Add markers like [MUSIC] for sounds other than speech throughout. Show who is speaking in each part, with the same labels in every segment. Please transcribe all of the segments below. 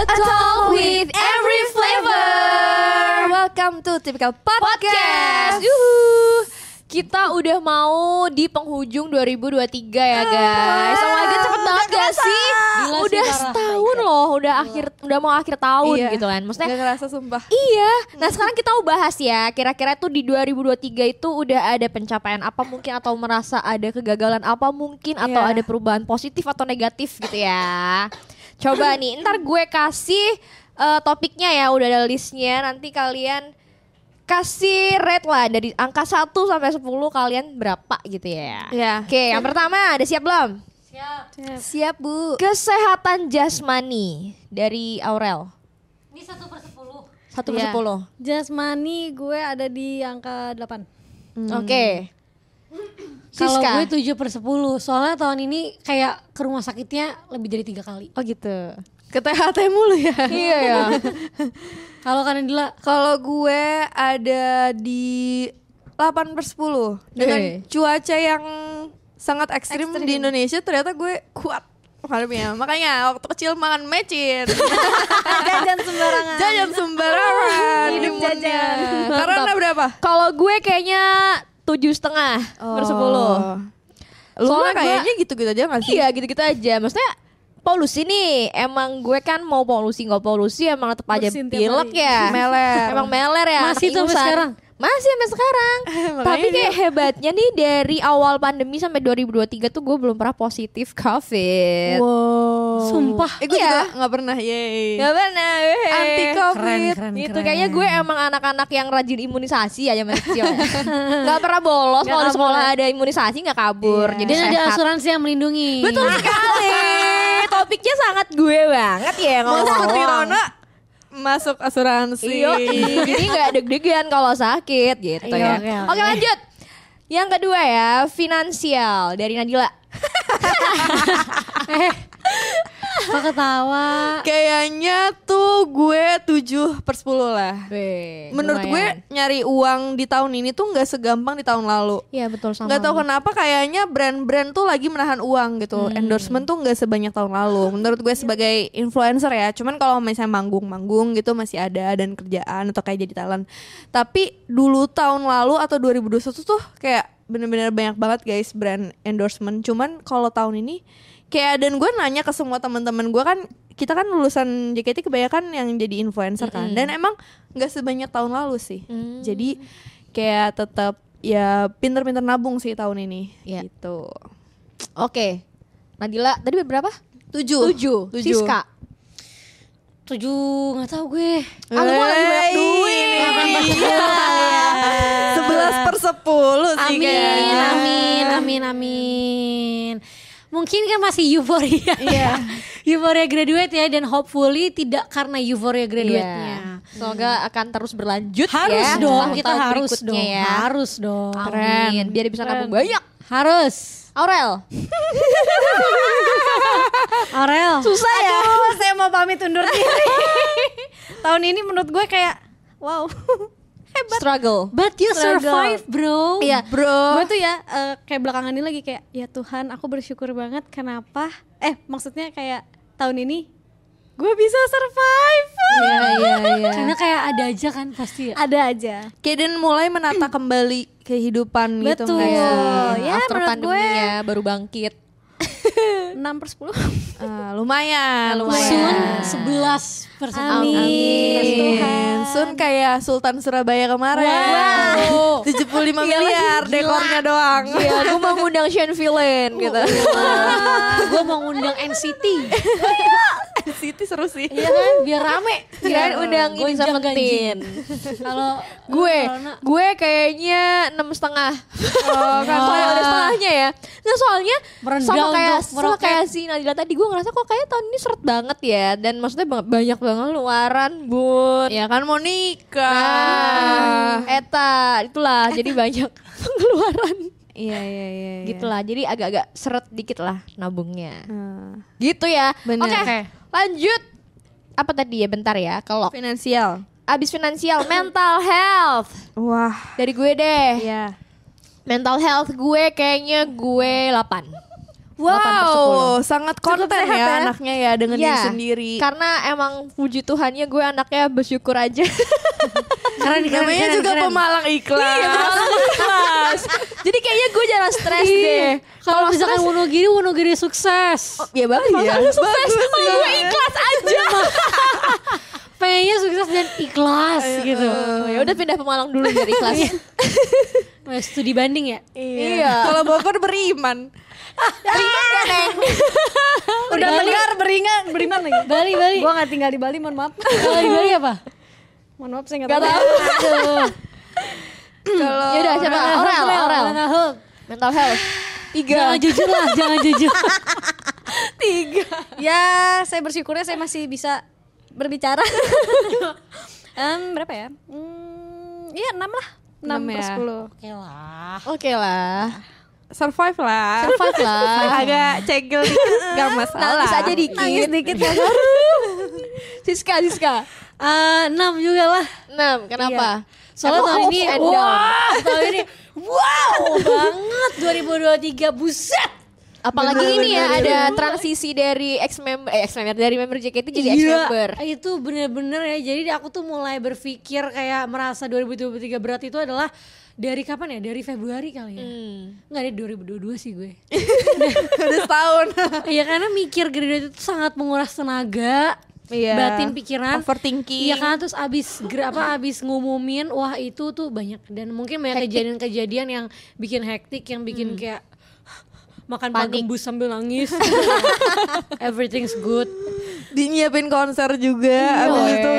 Speaker 1: A talk with every flavor.
Speaker 2: Welcome to Typical Podcast.
Speaker 1: Podcast. Yuhu. Kita udah mau di penghujung 2023 ya guys. Oh my god cepet banget gak sih?
Speaker 2: Ah, Gila sih,
Speaker 1: udah
Speaker 2: parah.
Speaker 1: setahun loh, udah akhir udah mau akhir tahun
Speaker 2: Iya.
Speaker 1: gitu kan. Maksudnya
Speaker 2: Gak kerasa sumpah.
Speaker 1: Iya, nah sekarang kita mau bahas ya Kira-kira tuh di 2023 itu udah ada pencapaian apa mungkin Atau merasa ada kegagalan apa mungkin Atau
Speaker 2: Iya.
Speaker 1: ada perubahan positif atau negatif gitu ya Coba nih, ntar gue kasih eh, topiknya ya Udah ada listnya, nanti kalian kasih rate lah Dari angka 1 sampai 10 kalian berapa gitu ya
Speaker 2: Iya.
Speaker 1: Oke, yang pertama ada siap belum?
Speaker 2: Siap bu.
Speaker 1: Kesehatan jasmani dari Aurel
Speaker 3: Ini satu per sepuluh.
Speaker 1: 1 per
Speaker 2: Iya.
Speaker 1: 10
Speaker 3: Jasmani gue ada di angka 8
Speaker 1: Oke
Speaker 3: Kalau
Speaker 1: Siska.
Speaker 3: gue 7 per 10 Soalnya tahun ini kayak ke rumah sakitnya lebih dari tiga kali
Speaker 1: Oh gitu.
Speaker 2: Ke THT mulu ya.
Speaker 1: Iya ya.
Speaker 3: Kalau Kanadila
Speaker 2: Kalau gue ada di 8 per 10 Dengan
Speaker 1: Eh.
Speaker 2: cuaca yang sangat ekstrim, di Indonesia ternyata gue kuat malamnya. Makanya waktu kecil makan mecin.
Speaker 4: jajan sembarangan
Speaker 2: jajan sembarangan.
Speaker 4: Hidup
Speaker 2: limunnya.
Speaker 4: jajan.
Speaker 2: Karena berapa?
Speaker 1: [LAUGHS] Kalau gue kayaknya tujuh setengah per sepuluh.
Speaker 2: Lu
Speaker 1: Oh. Soalnya
Speaker 2: mah Oh. kayaknya gitu-gitu aja gak sih?
Speaker 1: Iya gitu-gitu aja. Maksudnya polusi nih emang gue kan mau polusi nggak polusi emang tetap aja
Speaker 3: Bersin tiap
Speaker 1: pilek
Speaker 3: hari.
Speaker 1: ya
Speaker 2: Meler.
Speaker 1: emang meler ya
Speaker 3: Masih
Speaker 1: anak
Speaker 3: tuh sampai
Speaker 1: ingusan.
Speaker 3: sekarang?
Speaker 1: masih sampai sekarang
Speaker 2: Makanya
Speaker 1: tapi
Speaker 2: dia-
Speaker 1: kayak hebatnya nih dari awal pandemi sampai 2023 tuh gue belum pernah positif covid
Speaker 2: Wow. Eh,
Speaker 3: Sumpah.
Speaker 2: gue
Speaker 1: Iya.
Speaker 2: juga gak pernah. Yeay.
Speaker 1: Gak pena, weh.
Speaker 2: Anti
Speaker 3: Keren
Speaker 2: covid.
Speaker 3: keren
Speaker 1: Gitu
Speaker 3: keren.
Speaker 1: kayaknya gue emang anak-anak yang rajin imunisasi ya zaman kecil. gak pernah bolos
Speaker 4: Nggak
Speaker 1: kalau di
Speaker 4: kabur.
Speaker 1: sekolah ada imunisasi nggak kabur.
Speaker 2: Iya.
Speaker 1: Jadi
Speaker 3: Dan ada
Speaker 1: sehat.
Speaker 3: asuransi yang melindungi
Speaker 1: Betul sekali. Topiknya sangat gue banget ya
Speaker 2: Mas Putri
Speaker 1: ngomong.
Speaker 2: Rona masuk asuransi.
Speaker 1: Iya, jadi nggak deg-degan kalau sakit gitu
Speaker 3: Iya,
Speaker 1: ya.
Speaker 3: oke, oke.
Speaker 1: Oke lanjut. Yang kedua ya, finansial dari Nadila.
Speaker 3: Kok ketawa
Speaker 2: Kayaknya tuh gue 7 per 10 lah.
Speaker 1: Weh,
Speaker 2: Menurut
Speaker 1: lumayan.
Speaker 2: gue nyari uang di tahun ini tuh nggak segampang di tahun lalu.
Speaker 1: Iya betul sama.
Speaker 2: Nggak tahu kenapa kayaknya brand-brand tuh lagi menahan uang gitu.
Speaker 1: Hmm.
Speaker 2: Endorsement tuh nggak sebanyak tahun lalu. Menurut
Speaker 1: Iya.
Speaker 2: gue sebagai influencer ya. Cuman kalau misalnya manggung-manggung gitu masih ada dan kerjaan atau kayak jadi talent. Tapi dulu tahun lalu atau 2021 tuh kayak bener-bener banyak banget guys brand endorsement. Cuman kalau tahun ini kayak dan gue nanya ke semua teman-teman gue kan kita kan lulusan JKT kebanyakan yang jadi influencer kan dan emang nggak sebanyak tahun lalu sih jadi kayak tetap ya pinter-pinter nabung sih tahun ini
Speaker 1: Iya.
Speaker 2: gitu
Speaker 1: Oke. Nadila tadi berapa?
Speaker 2: tujuh
Speaker 1: Tujuh.
Speaker 2: tujuh
Speaker 1: Siska.
Speaker 3: Tujuh gak tahu gue
Speaker 1: Aku mau lagi banyak
Speaker 2: Wey.
Speaker 1: duit.
Speaker 2: Iya. sebelas per sepuluh sih
Speaker 3: Amin
Speaker 2: kayaknya.
Speaker 3: Amin Amin Amin Mungkin kan masih euforia
Speaker 2: Iya.
Speaker 3: [LAUGHS] Euforia graduate ya Dan hopefully tidak karena euforia
Speaker 1: Iya.
Speaker 3: graduate-nya
Speaker 1: Semoga akan terus berlanjut
Speaker 3: Harus
Speaker 1: ya.
Speaker 3: dong,
Speaker 1: tahun-tahun
Speaker 3: kita harus
Speaker 1: berikutnya
Speaker 3: dong,
Speaker 1: ya.
Speaker 3: harus dong.
Speaker 1: Amin. Biar bisa nabung banyak.
Speaker 3: Harus.
Speaker 1: Aurel,
Speaker 3: Aurel.
Speaker 1: susah ya.
Speaker 4: Aduh, saya mau pamit undur diri tahun ini menurut gue kayak wow
Speaker 1: Struggle.
Speaker 3: But you
Speaker 4: Struggle.
Speaker 3: survive, bro. [LAUGHS]
Speaker 4: Iya,
Speaker 3: bro.
Speaker 4: gue tuh ya eh, kayak belakangan ini lagi kayak ya Tuhan aku bersyukur banget kenapa eh maksudnya kayak tahun ini gue bisa survive
Speaker 1: Iya, iya, iya.
Speaker 3: Karena kayak ada aja kan pasti ya.
Speaker 4: ada aja
Speaker 2: Kaden mulai menata kembali kehidupan gitu
Speaker 3: Betul.
Speaker 2: nggak sih?
Speaker 4: Oh, ya,
Speaker 1: After
Speaker 4: menurut
Speaker 1: pandemi
Speaker 4: gue-
Speaker 1: ya, baru bangkit.
Speaker 4: 6 per 10
Speaker 2: Eh, lumayan,
Speaker 3: Sun
Speaker 2: lumayan.
Speaker 3: 11 persen.
Speaker 4: Amin. Amin.
Speaker 2: Amin. Sun kayak Sultan Surabaya kemarin. Wow. 75
Speaker 3: [LAUGHS]
Speaker 2: miliar dekornya doang.
Speaker 1: Iya, gue mau ngundang Sean Villain gitu.
Speaker 3: Iya. Gue mau ngundang NCT.
Speaker 2: City seru sih.
Speaker 3: Iya kan? Biar rame.
Speaker 1: Kirain undang ini
Speaker 3: Gonjang
Speaker 1: sama
Speaker 3: ganjing.
Speaker 1: Tin.
Speaker 3: Kalau
Speaker 1: Gue,
Speaker 3: Corona.
Speaker 1: gue kayaknya enam setengah. Oh, kan soalnya udah setengahnya ya. Nah soalnya
Speaker 3: Merendah
Speaker 1: sama kayak
Speaker 3: untuk
Speaker 1: sama
Speaker 3: meroket.
Speaker 1: kayak si Nadila tadi gue ngerasa kok kayak tahun ini seret banget ya. Dan maksudnya ba- banyak banget luaran bun.
Speaker 2: Ya kan mau
Speaker 1: Ah,
Speaker 2: nikah.
Speaker 1: Eta, itulah jadi banyak [LAUGHS] pengeluaran.
Speaker 2: Iya iya iya. iya.
Speaker 1: Gitu lah, jadi agak-agak seret dikit lah nabungnya.
Speaker 2: Ah,
Speaker 1: Gitu ya.
Speaker 2: Bener.
Speaker 1: Oke,
Speaker 2: Oke.
Speaker 1: lanjut. Apa tadi ya bentar ya, kelok.
Speaker 2: Finansial.
Speaker 1: Abis finansial, mental health.
Speaker 2: Wah.
Speaker 1: Dari gue deh.
Speaker 2: Iya.
Speaker 1: Mental health gue kayaknya gue 8.
Speaker 2: Wow, sangat konten ya,
Speaker 4: sehat ya.
Speaker 2: anaknya ya dengan
Speaker 1: Iya,
Speaker 2: diri sendiri.
Speaker 1: Karena emang puji Tuhannya gue anaknya bersyukur aja.
Speaker 3: keren keren,
Speaker 2: Namanya
Speaker 3: keren,
Speaker 2: juga
Speaker 3: keren.
Speaker 2: pemalang ikhlas.
Speaker 1: Jadi kayaknya gue jarang stres deh.
Speaker 3: Kalau misalkan Wonogiri, Wonogiri
Speaker 4: Oh.
Speaker 3: sukses.
Speaker 2: ya bagus ya.
Speaker 1: Stres, kalau gue ikhlas aja.
Speaker 3: Pengennya sukses dan ikhlas gitu.
Speaker 1: Oh, ya udah pindah Pemalang dulu biar ikhlas.
Speaker 3: Nah, Studi banding ya?
Speaker 1: iya.
Speaker 2: Kalau Bogor beriman.
Speaker 4: udah tegar beringat beriman lagi
Speaker 3: Bali, Bali.
Speaker 4: gue nggak tinggal di Bali mohon maaf
Speaker 3: Kalau di Bali apa?
Speaker 4: mohon maaf saya nggak
Speaker 1: Gak
Speaker 4: tahu
Speaker 1: tau.
Speaker 4: [LAUGHS]
Speaker 2: Kalau
Speaker 1: Ya udah coba
Speaker 4: Ah,
Speaker 1: Orel, Orel. Mental health.
Speaker 3: Jangan jujur lah, jangan jujur.
Speaker 4: ya saya bersyukurnya saya masih bisa berbicara [LAUGHS] Em, berapa ya Hmm, iya enam lah enam
Speaker 2: Enam
Speaker 4: per
Speaker 2: ya.
Speaker 4: sepuluh
Speaker 3: Oke lah.
Speaker 1: Oke lah.
Speaker 2: survive lah.
Speaker 1: Survive lah.
Speaker 2: Agak cegel dikit gak
Speaker 3: Nah,
Speaker 2: masalah.
Speaker 1: Nangis aja dikit.
Speaker 4: nangis dikit ya
Speaker 1: Siska, Siska.
Speaker 3: [LAUGHS]
Speaker 1: Iya.
Speaker 3: Eh, enam juga lah.
Speaker 1: 6, kenapa?
Speaker 3: Soalnya tahun ini,
Speaker 1: Emang ups and down.
Speaker 3: wah, tahun ini, wow banget 2023 buset.
Speaker 1: Apalagi ini ya ada transisi dari ex member eh ex member dari member JKT jadi ex
Speaker 3: Iya,
Speaker 1: member.
Speaker 3: Itu bener-bener ya. Jadi aku tuh mulai berpikir kayak merasa 2023 berat itu adalah dari kapan ya? Dari Februari kali ya.
Speaker 4: Hmm.
Speaker 3: Enggak ada 2022 sih gue.
Speaker 2: [LAUGHS] Udah setahun.
Speaker 3: Iya karena mikir graduate itu sangat menguras tenaga,
Speaker 2: Iya.
Speaker 3: batin pikiran,
Speaker 2: Overthinking.
Speaker 3: Iya karena terus abis gra- apa abis ngumumin, wah itu tuh banyak dan mungkin banyak kejadian-kejadian yang bikin hektik, yang
Speaker 2: Hmm.
Speaker 3: bikin kayak makan
Speaker 1: Panik.
Speaker 3: pagembus sambil
Speaker 2: [LAUGHS]
Speaker 3: nangis. Everything's good.
Speaker 2: Dinyiapin konser juga. Abis itu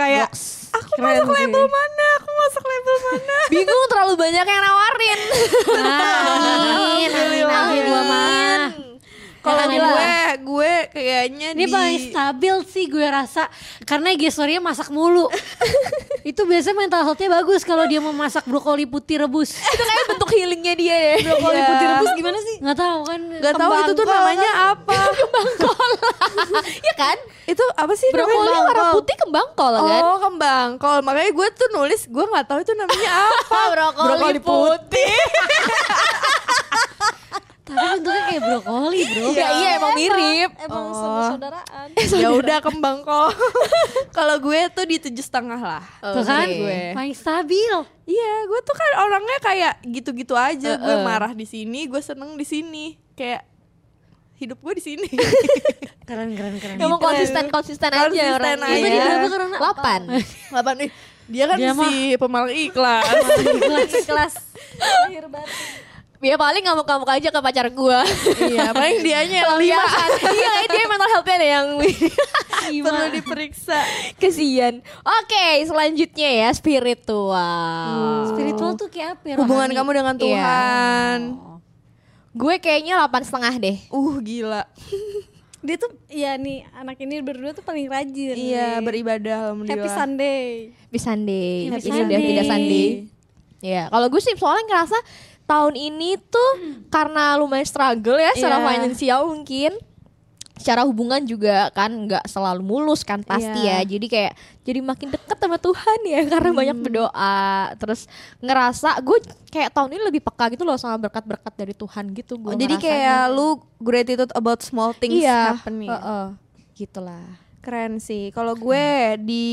Speaker 2: kayak aku masuk label mana? Aku masuk label mana?
Speaker 1: Bingung terlalu banyak yang nawarin.
Speaker 3: Amin, amin, amin, gua mah.
Speaker 2: Kalau
Speaker 3: Jangan
Speaker 2: gue, gue kayaknya di
Speaker 3: Ini paling
Speaker 2: [LAUGHS]
Speaker 3: stabil sih gue rasa karena gesturnya masak mulu. itu biasanya mental health-nya bagus kalau dia mau masak brokoli putih rebus. Iya.
Speaker 1: Itu kayak bentuk healingnya dia deh.
Speaker 2: Iya.
Speaker 4: kalau putih rebus gimana sih
Speaker 3: Nggak tahu kan?
Speaker 2: Gak tahu itu tuh namanya apa?
Speaker 1: Iya kan?
Speaker 2: itu apa sih
Speaker 1: [LAUGHS]
Speaker 2: namanya?
Speaker 1: Brokoli warna
Speaker 2: Kembang.
Speaker 1: putih kembang kol kan?
Speaker 2: Oh kembang kol Makanya gue tuh nulis Gue gak tahu itu namanya apa
Speaker 1: Brokoli
Speaker 2: putih
Speaker 3: Tapi bentuknya kayak brokoli, bro.
Speaker 1: Ya, iya emang mirip.
Speaker 4: emang sama saudaraan
Speaker 2: Ya udah kembang kol Kalau gue tuh di tujuh setengah lah
Speaker 3: Tuh kan?
Speaker 1: Oke.
Speaker 3: Gue. Paling stabil.
Speaker 2: Iya gue tuh kan orangnya kayak gitu-gitu aja Gue marah di sini Gue seneng di sini Kayak hidup gue di sini
Speaker 3: Keren, keren, keren.
Speaker 1: Emang konsisten konsisten aja
Speaker 2: Konsisten
Speaker 1: orangnya. Iya.
Speaker 2: aja. Ibu di berapa
Speaker 3: corona?
Speaker 1: 8.
Speaker 2: Lapan nih Dia kan
Speaker 3: Dia mah-
Speaker 2: si pemalang iklan
Speaker 4: kelas [LAUGHS] lahir batin
Speaker 1: Ya paling ngamuk-ngamuk aja ke pacar gua.
Speaker 2: Iya paling dianya yang lima
Speaker 1: Kebiasaan. Iya, dia mental health-nya deh yang
Speaker 2: Perlu diperiksa
Speaker 1: kesian. Oke, selanjutnya ya
Speaker 2: Hmm,
Speaker 1: spiritual.
Speaker 3: Spiritual tuh kayak apa ya?
Speaker 2: Hubungan
Speaker 3: rohani?
Speaker 2: kamu dengan Tuhan
Speaker 1: Gue kayaknya 8 setengah deh.
Speaker 2: Uh gila
Speaker 4: dia tuh ya nih anak ini berdua tuh paling rajin
Speaker 2: Iya
Speaker 4: nih.
Speaker 2: beribadah alhamdulillah
Speaker 4: happy Sunday
Speaker 1: Happy Sunday.
Speaker 3: Happy
Speaker 1: Ini udah
Speaker 3: Sunday.
Speaker 1: pindah Sunday. Ya, kalau gue sih soalnya ngerasa tahun ini tuh karena lumayan struggle ya secara
Speaker 2: Iya.
Speaker 1: finansial mungkin. Secara hubungan juga kan nggak selalu mulus kan pasti ya.
Speaker 2: Iya.
Speaker 1: Jadi kayak jadi makin deket sama Tuhan ya [LAUGHS] karena banyak
Speaker 2: Hmm.
Speaker 1: berdoa. Terus ngerasa gue kayak tahun ini lebih peka gitu loh sama berkat-berkat dari Tuhan gitu gue.
Speaker 2: Oh, jadi kayak lu gratitude about small things
Speaker 1: iya,
Speaker 2: ya? happening.
Speaker 1: heeh, gitulah.
Speaker 2: Keren sih. Kalau gue di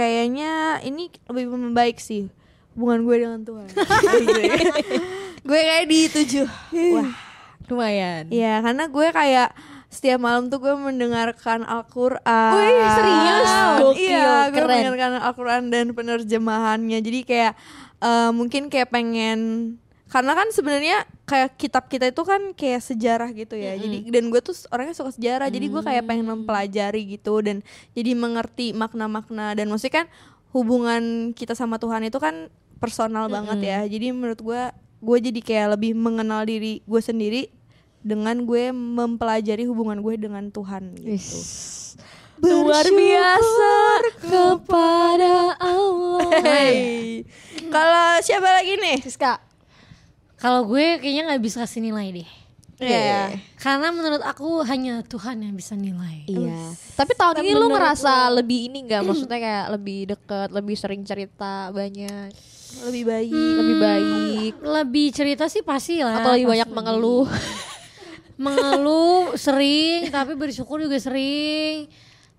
Speaker 2: kayaknya ini lebih membaik sih
Speaker 1: [LAUGHS] Iya,
Speaker 2: [LAUGHS] hubungan gue dengan Tuhan. gue kayak di tujuh. Wah,
Speaker 1: Lumayan.
Speaker 2: Iya, karena gue kayak setiap malam tuh gue mendengarkan Al-Qur'an.
Speaker 1: Wih, serius? Gokil,
Speaker 2: Iya, gue
Speaker 1: keren.
Speaker 2: mendengarkan Al-Qur'an dan penerjemahannya. Jadi kayak eh, mungkin kayak pengen karena kan sebenarnya kayak kitab kita itu kan kayak sejarah gitu ya. Jadi dan gue tuh orangnya suka sejarah. Jadi gue kayak pengen
Speaker 1: Mm.
Speaker 2: mempelajari gitu dan jadi mengerti makna-makna dan maksudnya kan hubungan kita sama Tuhan itu kan personal banget ya. Jadi menurut gue gue jadi kayak lebih mengenal diri gue sendiri dengan gue mempelajari hubungan gue dengan Tuhan gitu.
Speaker 1: Luar biasa kepada Allah.
Speaker 2: Hey. Kalau siapa lagi nih?
Speaker 1: Siska.
Speaker 3: Kalau gue kayaknya nggak bisa kasih nilai deh.
Speaker 2: Iya.
Speaker 3: Karena menurut aku hanya Tuhan yang bisa nilai.
Speaker 1: Iya. Tapi tahun ini lu ngerasa lebih ini nggak? Maksudnya kayak lebih deket, lebih sering cerita banyak,
Speaker 2: Lebih baik.
Speaker 1: lebih baik,
Speaker 3: Lebih cerita sih pasti lah.
Speaker 1: atau lebih
Speaker 3: Hmm. Nah, Pasti
Speaker 1: banyak mengeluh.
Speaker 3: mengeluh sering tapi bersyukur juga sering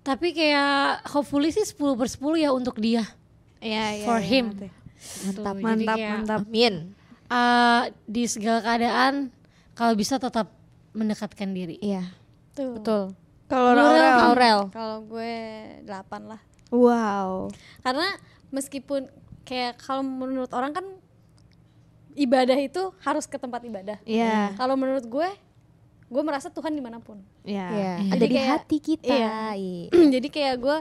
Speaker 3: tapi kayak hopefully sih 10 per 10 ya untuk dia
Speaker 2: Iya, iya,
Speaker 3: for
Speaker 2: iya.
Speaker 3: him
Speaker 1: Mantap,
Speaker 3: Jadi
Speaker 2: Mantap,
Speaker 3: kayak,
Speaker 2: mantap.
Speaker 1: Amin.
Speaker 3: eh, di segala keadaan kalau bisa tetap mendekatkan diri
Speaker 1: Iya.
Speaker 4: Tuh.
Speaker 1: Betul.
Speaker 2: Kalau
Speaker 1: Aurel.
Speaker 2: Laura.
Speaker 1: Aurel.
Speaker 4: Kalau gue 8 lah.
Speaker 2: Wow.
Speaker 4: Karena meskipun kayak kalau menurut orang kan ibadah itu harus ke tempat ibadah.
Speaker 2: Iya.
Speaker 4: Kalau menurut gue, gue merasa Tuhan dimanapun.
Speaker 2: Iya.
Speaker 1: Iya.
Speaker 3: Jadi
Speaker 1: Ada di
Speaker 4: kayak-
Speaker 1: hati kita.
Speaker 4: iya.
Speaker 1: Iya.
Speaker 4: [CLEARS THROAT] Jadi kayak gue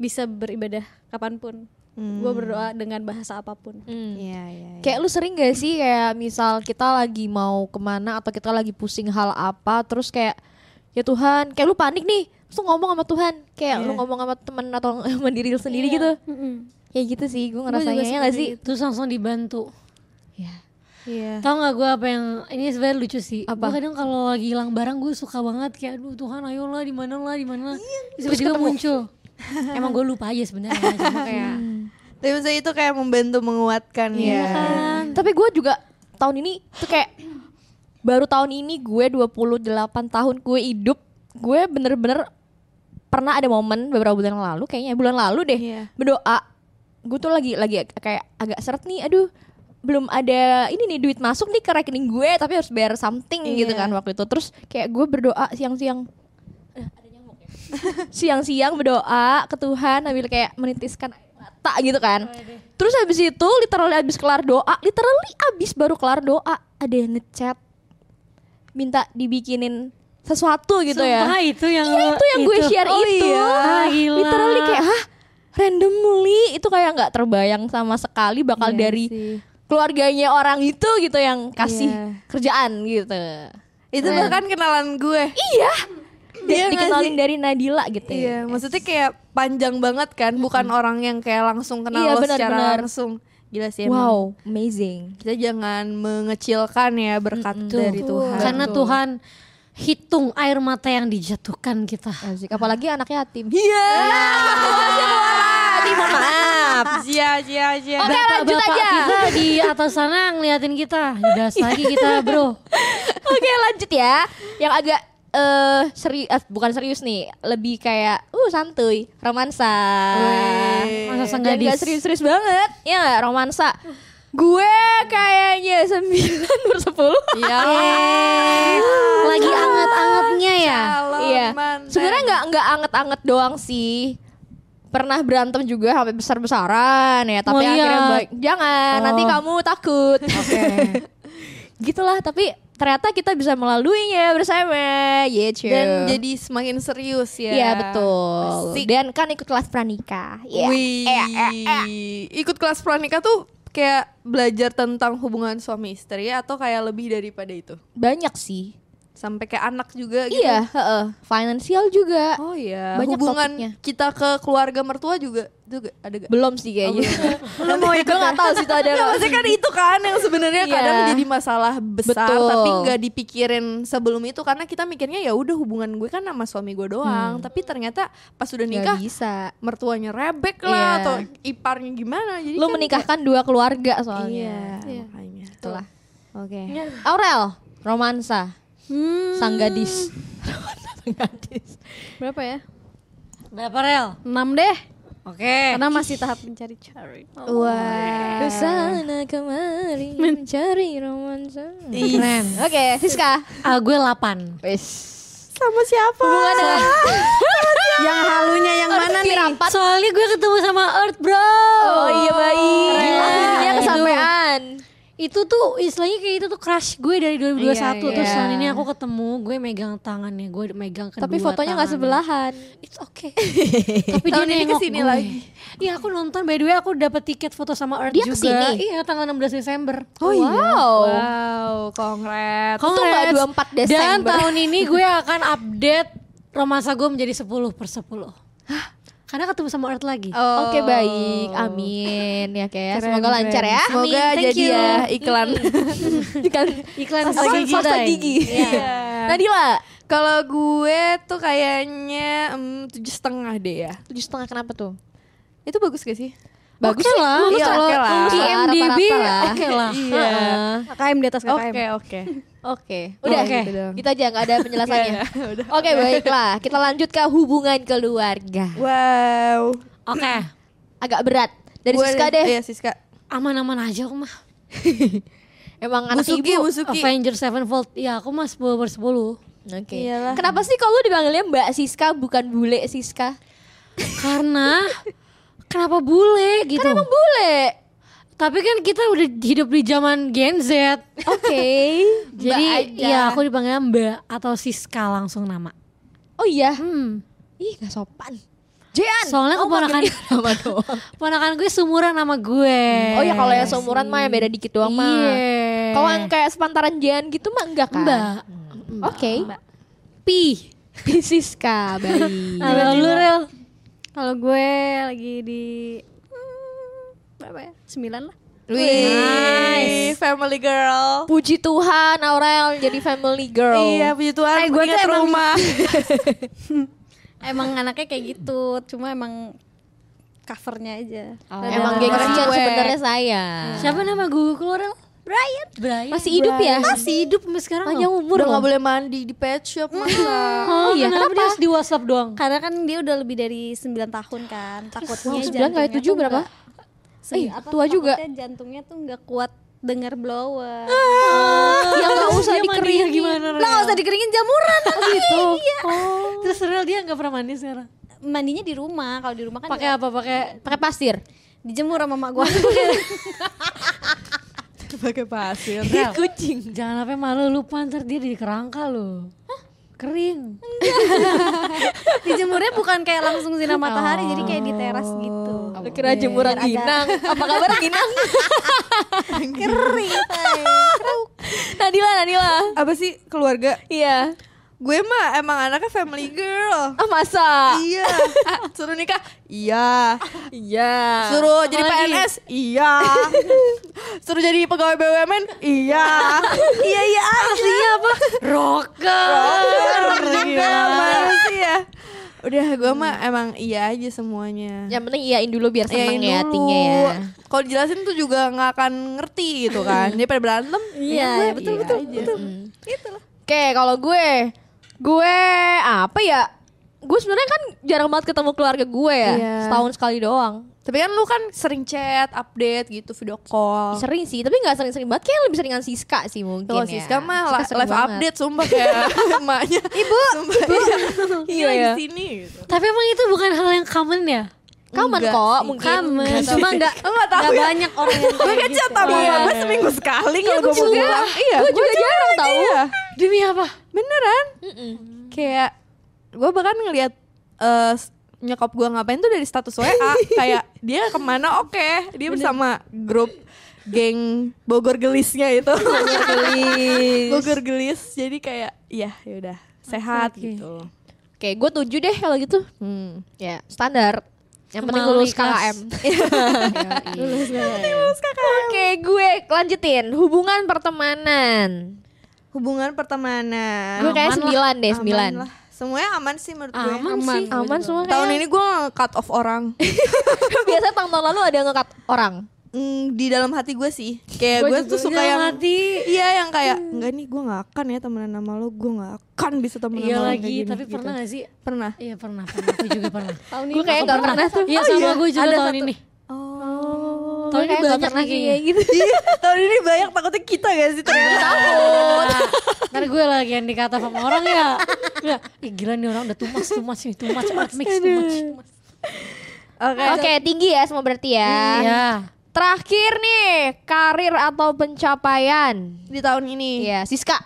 Speaker 4: bisa beribadah kapanpun.
Speaker 2: Hmm.
Speaker 4: Gue berdoa dengan bahasa apapun.
Speaker 2: Iya, iya. iya.
Speaker 1: Kayak lu sering gak sih kayak misal kita lagi mau kemana atau kita lagi pusing hal apa terus kayak ya Tuhan kayak lu panik nih terus lu ngomong sama Tuhan kayak lu
Speaker 2: Iya.
Speaker 1: ngomong sama temen atau [LAUGHS] sama diri lu sendiri gitu ya gitu sih gue ngerasanya ya gak sih
Speaker 3: terus langsung dibantu
Speaker 1: Iya.
Speaker 2: Iya.
Speaker 3: tau nggak gue apa yang ini sebenarnya lucu sih
Speaker 1: Apa?
Speaker 3: Gua kadang kalau lagi hilang barang gue suka banget kayak aduh Tuhan ayolah di mana lah di mana
Speaker 1: Iya, terus
Speaker 3: tiba-tiba
Speaker 1: ketemu. [LAUGHS]
Speaker 3: muncul emang gue lupa aja sebenarnya cuma kayak
Speaker 2: Tapi maksudnya itu kayak membantu menguatkan ya.
Speaker 1: Iya. tapi gue juga tahun ini tuh kayak baru tahun ini gue 28 tahun gue hidup gue bener-bener pernah ada momen beberapa bulan yang lalu kayaknya bulan lalu deh
Speaker 2: Iya.
Speaker 1: berdoa gue tuh lagi lagi ag- kayak agak seret nih aduh belum ada ini nih duit masuk nih ke rekening gue tapi harus bayar something gitu
Speaker 2: Iya.
Speaker 1: kan waktu itu terus kayak gue berdoa siang-siang Eh, ada nyamuk ya? siang-siang berdoa ke Tuhan sambil kayak menitiskan air mata gitu kan terus habis itu literally habis kelar doa literally habis baru kelar doa ada yang ngechat minta dibikinin sesuatu gitu ya
Speaker 3: Sumpah, itu yang
Speaker 1: Iya
Speaker 3: lo-
Speaker 1: itu yang gue share
Speaker 3: Oh,
Speaker 1: itu.
Speaker 3: iya. Ah, gila.
Speaker 1: Literally kayak hah randomly itu kayak nggak terbayang sama sekali bakal
Speaker 2: Iya
Speaker 1: dari
Speaker 2: sih.
Speaker 1: keluarganya orang itu gitu yang kasih
Speaker 2: Iya.
Speaker 1: kerjaan gitu.
Speaker 2: Itu bahkan kenalan gue.
Speaker 1: Iya. Di-
Speaker 2: Iya nggak
Speaker 1: dikenalin
Speaker 2: sih?
Speaker 1: dari Nadila gitu.
Speaker 2: Iya, maksudnya kayak panjang banget kan, bukan orang yang kayak langsung kenal
Speaker 1: Iya,
Speaker 2: lo
Speaker 1: benar,
Speaker 2: secara
Speaker 1: benar.
Speaker 2: langsung. Gila sih emang.
Speaker 1: Wow, amazing.
Speaker 2: Kita jangan mengecilkan ya berkat dari Tuhan.
Speaker 3: Karena Tuhan hitung air mata yang dijatuhkan kita.
Speaker 1: Asik. Apalagi Iya. anak yatim.
Speaker 2: Iya.
Speaker 1: Tadi mohon maaf.
Speaker 2: Sia, sia, sia.
Speaker 1: Oke, lanjut
Speaker 3: Bapak
Speaker 1: aja. Iya.
Speaker 3: kita di atas sana ngeliatin kita. Jelas lagi kita bro.
Speaker 1: Oke lanjut ya Yang agak eh seri, eh, bukan serius nih Lebih kayak uh santuy Romansa
Speaker 2: Wih,
Speaker 3: masa
Speaker 1: Dan
Speaker 3: gadis.
Speaker 1: nggak serius-serius banget Ya nggak romansa Gue kayaknya [LAUGHS] 9 per 10
Speaker 2: Iya.
Speaker 3: Lagi anget-angetnya ya.
Speaker 2: Calon
Speaker 1: Iya
Speaker 2: mantan.
Speaker 1: Sebenarnya nggak nggak anget-anget doang sih Pernah berantem juga sampai besar-besaran ya Tapi
Speaker 2: Oh,
Speaker 3: Mau
Speaker 2: iya.
Speaker 1: akhirnya
Speaker 3: lihat.
Speaker 1: baik Jangan nanti kamu takut [LAUGHS] Gitulah tapi ternyata kita bisa melaluinya bersama Yeah cuy
Speaker 2: Dan jadi semakin serius ya.
Speaker 1: Iya betul.
Speaker 2: Asik.
Speaker 1: Dan kan ikut kelas pranikah. Iya.
Speaker 2: Wih.
Speaker 1: Eh, eh,
Speaker 2: iya.
Speaker 1: eh.
Speaker 2: Ikut kelas pranikah tuh kayak belajar tentang hubungan suami istri atau kayak lebih daripada itu?
Speaker 1: Banyak sih.
Speaker 2: Sampai kayak anak juga gitu.
Speaker 1: Iya, heeh. Finansial juga.
Speaker 2: Oh iya.
Speaker 1: Banyak
Speaker 2: hubungan
Speaker 1: topiknya.
Speaker 2: kita ke keluarga mertua juga juga ada gak?
Speaker 1: Belum sih kayaknya.
Speaker 2: Oh, Lu
Speaker 1: [LAUGHS]
Speaker 2: mau ikut?
Speaker 1: Gue gak tahu sih itu ada.
Speaker 2: Ya, [LAUGHS] maksudnya kan itu kan yang sebenarnya
Speaker 1: Iya.
Speaker 2: kadang jadi masalah besar
Speaker 1: Betul.
Speaker 2: tapi nggak dipikirin sebelum itu karena kita mikirnya ya udah hubungan gue kan sama suami gue doang tapi ternyata pas udah
Speaker 1: Gak
Speaker 2: nikah
Speaker 1: bisa.
Speaker 2: mertuanya rebek lah
Speaker 1: Iya.
Speaker 2: atau iparnya gimana jadi
Speaker 1: Lu
Speaker 2: kan
Speaker 1: menikahkan dua keluarga
Speaker 2: kayak-
Speaker 1: soalnya.
Speaker 2: iya,
Speaker 4: Iya.
Speaker 2: makanya
Speaker 1: Itulah. Oke. Hmm. Aurel, romansa. Sang gadis. Romansa sang gadis.
Speaker 4: Berapa ya?
Speaker 3: Berapa rel?
Speaker 4: 6 deh.
Speaker 3: Oke.
Speaker 4: Karena masih tahap mencari-cari.
Speaker 2: Oh,
Speaker 1: Wah.
Speaker 4: Ke sana kemari mencari romansa.
Speaker 3: Keren.
Speaker 1: Oke, Siska.
Speaker 3: Ah, gue 8.
Speaker 1: Wis.
Speaker 2: Sama siapa?
Speaker 4: Yang halunya yang mana nih?
Speaker 1: Rapat.
Speaker 3: Soalnya gue ketemu sama Earth bro
Speaker 1: Oh iya baik. Akhirnya kesampaian.
Speaker 3: Itu tuh istilahnya kayak itu tuh crush gue dari 2021
Speaker 1: Iya,
Speaker 3: Terus
Speaker 1: iya.
Speaker 3: tahun ini aku ketemu gue megang tangannya Gue megang kedua
Speaker 1: Tapi fotonya nggak
Speaker 3: tangannya.
Speaker 1: sebelahan.
Speaker 3: It's okay Tapi dia
Speaker 2: Tahun ini
Speaker 3: nengok
Speaker 2: kesini
Speaker 3: gue.
Speaker 2: lagi.
Speaker 3: Iya aku nonton by the way aku dapet tiket foto sama Earth
Speaker 1: Dia
Speaker 3: juga
Speaker 1: kesini?
Speaker 3: Iya tanggal 16 Desember
Speaker 1: Oh iya. Wow.
Speaker 2: Wow, kongres.
Speaker 1: Untung nggak 24 Desember.
Speaker 3: Dan tahun ini gue akan update romansa gue menjadi 10 per 10 Karena ketemu sama Earth lagi
Speaker 1: Oke baik, amin ya kayak
Speaker 2: Keren,
Speaker 1: semoga lancar
Speaker 2: keren.
Speaker 1: ya.
Speaker 2: Semoga
Speaker 1: Amin. Thank
Speaker 2: jadi
Speaker 1: you.
Speaker 2: ya
Speaker 1: [LAUGHS]
Speaker 2: iklan.
Speaker 1: Iklan
Speaker 3: Iklan
Speaker 1: Apa?
Speaker 3: gigi
Speaker 1: Pasta
Speaker 3: Day.
Speaker 1: gigi. Nah,
Speaker 3: Iya.
Speaker 2: [LAUGHS]
Speaker 1: Nadila
Speaker 2: Kalau gue tuh kayaknya em, tujuh setengah deh ya.
Speaker 1: tujuh setengah kenapa tuh?
Speaker 2: Itu bagus gak sih?
Speaker 3: Bagus lah,
Speaker 2: Iya,
Speaker 3: kalau
Speaker 2: oke lah.
Speaker 3: di MDB
Speaker 1: Rata-rata lah.
Speaker 3: oke lah.
Speaker 2: Iya.
Speaker 4: KKM di atas KKM.
Speaker 2: Oke oke.
Speaker 1: Oke, udah
Speaker 3: Oke.
Speaker 1: gitu, doang. Gitu aja nggak ada penjelasannya. Oke baiklah, kita lanjut ke hubungan keluarga.
Speaker 2: [LAUGHS] Wow.
Speaker 3: Oke,
Speaker 1: Agak berat dari
Speaker 2: Gue-
Speaker 1: Siska deh.
Speaker 2: Iya Siska.
Speaker 3: aman-aman aja aku mah.
Speaker 1: Emang anak
Speaker 2: Busuki,
Speaker 1: ibu.
Speaker 2: Busuki.
Speaker 3: Avenger Sevenfold, ya aku mah 10 per 10
Speaker 1: Oke.
Speaker 2: Iyalah.
Speaker 1: Kenapa sih kalau lu dipanggilnya Mbak Siska bukan bule Siska?
Speaker 3: Karena kenapa bule gitu?
Speaker 1: Kan emang bule.
Speaker 3: Tapi kan kita udah hidup di zaman
Speaker 1: [LAUGHS]
Speaker 3: Gen Z.
Speaker 1: Oke. iya,
Speaker 3: Jadi
Speaker 1: aja.
Speaker 3: ya aku dipanggil Mbak atau Siska langsung nama.
Speaker 1: Oh iya.
Speaker 3: Hmm.
Speaker 1: Ih, gak sopan. Jean.
Speaker 3: Soalnya
Speaker 1: kamu
Speaker 3: keponakan
Speaker 1: panggilnya
Speaker 3: [LAUGHS]
Speaker 1: nama doang.
Speaker 3: ponakan gue seumuran nama gue.
Speaker 1: Oh ya kalau yang seumuran mah yang beda dikit doang mah.
Speaker 3: Iya.
Speaker 1: Kalau yang kayak sepantaran Jean gitu mah enggak kan?
Speaker 3: Mbak.
Speaker 1: Oke.
Speaker 3: Pi.
Speaker 1: [LAUGHS] Siska, baik.
Speaker 3: Kalau lu Rel?
Speaker 4: Kalau gue lagi di hmm, berapa ya? Sembilan lah.
Speaker 2: Wih. Family girl.
Speaker 1: Puji Tuhan Aurel jadi family girl.
Speaker 2: Iya puji Tuhan.
Speaker 4: Eh, gue
Speaker 2: ingat
Speaker 4: tuh emang- [LAUGHS]
Speaker 2: rumah.
Speaker 4: Emang anaknya kayak gitu, cuma emang covernya aja.
Speaker 1: Oh. Emang
Speaker 2: Ada
Speaker 1: geng
Speaker 2: orang
Speaker 1: kecil
Speaker 2: cuek.
Speaker 1: sebenarnya saya.
Speaker 3: Siapa nama gue lu Rel? Brian. Brian.
Speaker 1: Masih hidup ya?
Speaker 3: Masih hidup sampai sekarang.
Speaker 1: Panjang
Speaker 3: loh.
Speaker 1: umur
Speaker 2: Udah
Speaker 1: loh.
Speaker 2: nggak boleh mandi di pet shop masa. [LAUGHS]
Speaker 3: Oh,
Speaker 1: iya,
Speaker 3: kenapa,
Speaker 1: kenapa?
Speaker 3: dia harus di WhatsApp doang?
Speaker 4: Karena kan dia udah lebih dari 9 tahun kan. Takutnya
Speaker 1: Wow, sembilan kali
Speaker 4: jantungnya
Speaker 1: tujuh
Speaker 4: tuh
Speaker 1: berapa?
Speaker 4: nggak- sembi-
Speaker 1: Eh, tua juga.
Speaker 4: takutnya jantungnya tuh nggak kuat dengar blower.
Speaker 3: Ah.
Speaker 1: Ya nggak usah
Speaker 3: Dia mandinya
Speaker 1: dikeringin.
Speaker 3: gimana, Rel?
Speaker 4: Lah nggak usah dikeringin jamuran.
Speaker 1: gitu.
Speaker 3: Terus Rel dia nggak pernah mandi sekarang.
Speaker 4: Mandinya di rumah. Kalau di rumah kan
Speaker 3: Pakai apa? Pakai
Speaker 1: Pakai pasir.
Speaker 4: dijemur sama mak gue.
Speaker 2: Pakai pasir.
Speaker 3: Rel.
Speaker 1: Kucing.
Speaker 3: Iya. Jangan sampai malu lupa ntar dia di kerangka lo. Kering.
Speaker 4: Dijemurnya bukan kayak langsung sinar matahari, jadi kayak di teras gitu.
Speaker 1: Lu kira jemuran
Speaker 4: Biar agak-
Speaker 1: ginang. Apa kabar ginang?
Speaker 4: Kering. Tay.
Speaker 1: Nadila, Nadila.
Speaker 2: Apa sih keluarga?
Speaker 1: Iya.
Speaker 2: Gue mah emang anaknya family girl.
Speaker 1: Ah masa?
Speaker 2: Iya. [LAUGHS] Suruh nikah? Iya.
Speaker 1: Iya.
Speaker 2: Suruh jadi
Speaker 3: Apalagi?
Speaker 2: PNS? [LAUGHS] Iya. Suruh jadi pegawai BUMN? Iya. [LAUGHS] iya iya aslinya apa?
Speaker 3: Rocker.
Speaker 2: Gila mana sih ya? Udah gue mah emang iya aja semuanya.
Speaker 1: Yang penting iyain dulu biar seneng ya
Speaker 2: Iyain dulu. Iya,
Speaker 1: hatinya ya.
Speaker 2: Kalau dijelasin tuh juga nggak akan ngerti gitu kan. Dia pada berantem.
Speaker 4: Iya,
Speaker 2: gue
Speaker 4: betul,
Speaker 2: iya
Speaker 4: betul,
Speaker 2: aja.
Speaker 4: betul.
Speaker 1: Oke, kalau gue, gue apa ya? Gue sebenarnya kan jarang banget ketemu keluarga gue ya.
Speaker 2: Iya.
Speaker 1: Setahun sekali doang.
Speaker 2: Tapi kan lu kan sering chat, update gitu, video call.
Speaker 1: Sering sih, tapi nggak sering-sering banget. Kayak lebih seringan Siska sih mungkin
Speaker 2: Kalau
Speaker 1: ya.
Speaker 2: Siska mah la-
Speaker 1: sering
Speaker 2: live
Speaker 1: banget.
Speaker 2: update sumpah kayak [LAUGHS] emaknya. Ibu, ibu. Iya,
Speaker 1: Iya, iya.
Speaker 2: di sini gitu.
Speaker 3: Tapi emang itu bukan hal yang common ya?
Speaker 1: Common
Speaker 2: Enggak
Speaker 1: kok,
Speaker 3: Oh,
Speaker 2: sih.
Speaker 1: mungkin.
Speaker 3: Common.
Speaker 2: tahu.
Speaker 3: Cuma nggak
Speaker 2: Lo nggak tahu
Speaker 3: nggak
Speaker 2: ya?
Speaker 3: banyak orang [LAUGHS] yang
Speaker 2: Gue
Speaker 3: kayak
Speaker 2: ngecat
Speaker 3: gitu.
Speaker 2: sama
Speaker 3: Iya.
Speaker 2: mama gue seminggu sekali
Speaker 1: Iya,
Speaker 2: kalau
Speaker 1: gue
Speaker 2: gue mau
Speaker 1: juga.
Speaker 2: pulang. Iya,
Speaker 1: gue juga jarang tahu.
Speaker 3: Demi apa?
Speaker 2: beneran.
Speaker 1: Mm-mm.
Speaker 2: Kayak gue bahkan ngelihat eh, s- nyokap gue ngapain tuh dari status WA kayak dia kemana oke dia bersama grup geng Bogor gelisnya itu Bogor gelis [LAUGHS] Bogor gelis jadi kayak ya yaudah sehat gitu
Speaker 1: Oke, gue tuju deh kalau gitu.
Speaker 2: hmm.
Speaker 1: Ya, standar. Yang penting
Speaker 3: Kemali
Speaker 1: lulus
Speaker 3: kelas.
Speaker 1: KKM. [LAUGHS] Oke, gue lanjutin. Hubungan pertemanan.
Speaker 2: hubungan pertemanan
Speaker 1: Gue kayak
Speaker 3: Aman lah,
Speaker 1: sembilan deh,
Speaker 2: Ah, Aman
Speaker 1: sembilan. [LAUGHS]
Speaker 2: lah. semuanya aman sih menurut gue
Speaker 3: Aman, sih.
Speaker 1: Aman semua
Speaker 2: tahun
Speaker 1: kayaknya.
Speaker 2: ini gue cut off orang
Speaker 1: Biasanya tahun-tahun lalu ada yang ngekat orang.
Speaker 2: mm, di dalam hati gue sih kayak
Speaker 3: Gua
Speaker 2: gue
Speaker 3: juga
Speaker 2: tuh suka
Speaker 3: dalam
Speaker 2: yang
Speaker 3: hati.
Speaker 2: iya yang kayak enggak nih gue nggak akan ya temenan sama lo gue nggak akan bisa temenan
Speaker 3: Iya
Speaker 2: sama lo kayak
Speaker 3: lagi,
Speaker 2: gini,"
Speaker 3: tapi
Speaker 2: gitu.
Speaker 3: pernah gak sih?
Speaker 2: pernah
Speaker 3: Iya pernah, pernah. Aku juga [LAUGHS] pernah.
Speaker 4: tahun
Speaker 1: Gue kayaknya nggak pernah tuh.
Speaker 3: Iya sama gue juga tahun ini.
Speaker 2: oh
Speaker 1: Kayak
Speaker 3: Tahun ini
Speaker 1: nggak
Speaker 3: banyak ya.
Speaker 1: pernah
Speaker 3: nih [LAUGHS] kayaknya.
Speaker 1: kayak gitu.
Speaker 2: iya tahun ini banyak takutnya kita gak sih ternyata
Speaker 3: Nah, Ntar gue lagi yang dikata sama orang [LAUGHS] ya. ya. Ih gila nih orang udah tumas tumas nih, tumas out mix tumas.
Speaker 2: oke
Speaker 1: Oke, tinggi ya semua berarti ya.
Speaker 3: Iya.
Speaker 1: Terakhir nih, karir atau pencapaian.
Speaker 2: di tahun ini
Speaker 1: Iya, Siska.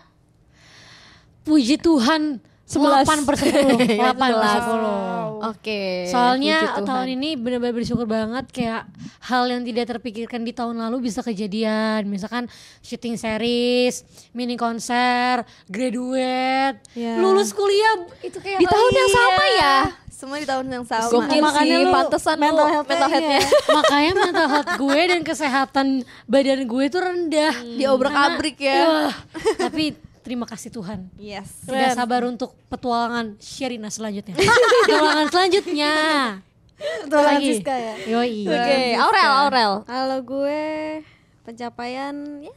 Speaker 3: Puji Tuhan
Speaker 1: 11.
Speaker 3: 8 per 10 8 per 10
Speaker 1: Oke.
Speaker 3: Soalnya tahun ini benar-benar bersyukur banget kayak hal yang tidak terpikirkan di tahun lalu bisa kejadian. Misalkan syuting series, mini konser, graduate,
Speaker 2: Iya.
Speaker 3: lulus kuliah itu kayak
Speaker 1: di tahun yang sama ya.
Speaker 2: semua di tahun yang sama
Speaker 1: Gokil
Speaker 3: Makanya
Speaker 1: sih,
Speaker 3: lu
Speaker 1: pantesan lu
Speaker 4: mental health-nya
Speaker 1: mental
Speaker 4: iya.
Speaker 1: health-nya.
Speaker 3: Makanya mental health gue dan kesehatan badan gue itu rendah.
Speaker 2: Diobrak-abrik ya.
Speaker 3: Wah, tapi terima kasih Tuhan.
Speaker 2: yes
Speaker 3: Tidak sabar untuk petualangan Sherina selanjutnya. [LAUGHS] petualangan selanjutnya.
Speaker 4: Betul
Speaker 3: Lagi.
Speaker 4: Siska ya.
Speaker 3: Yoi.
Speaker 1: Oke, Eh, Aurel, Aurel.
Speaker 4: Kalau gue pencapaian ya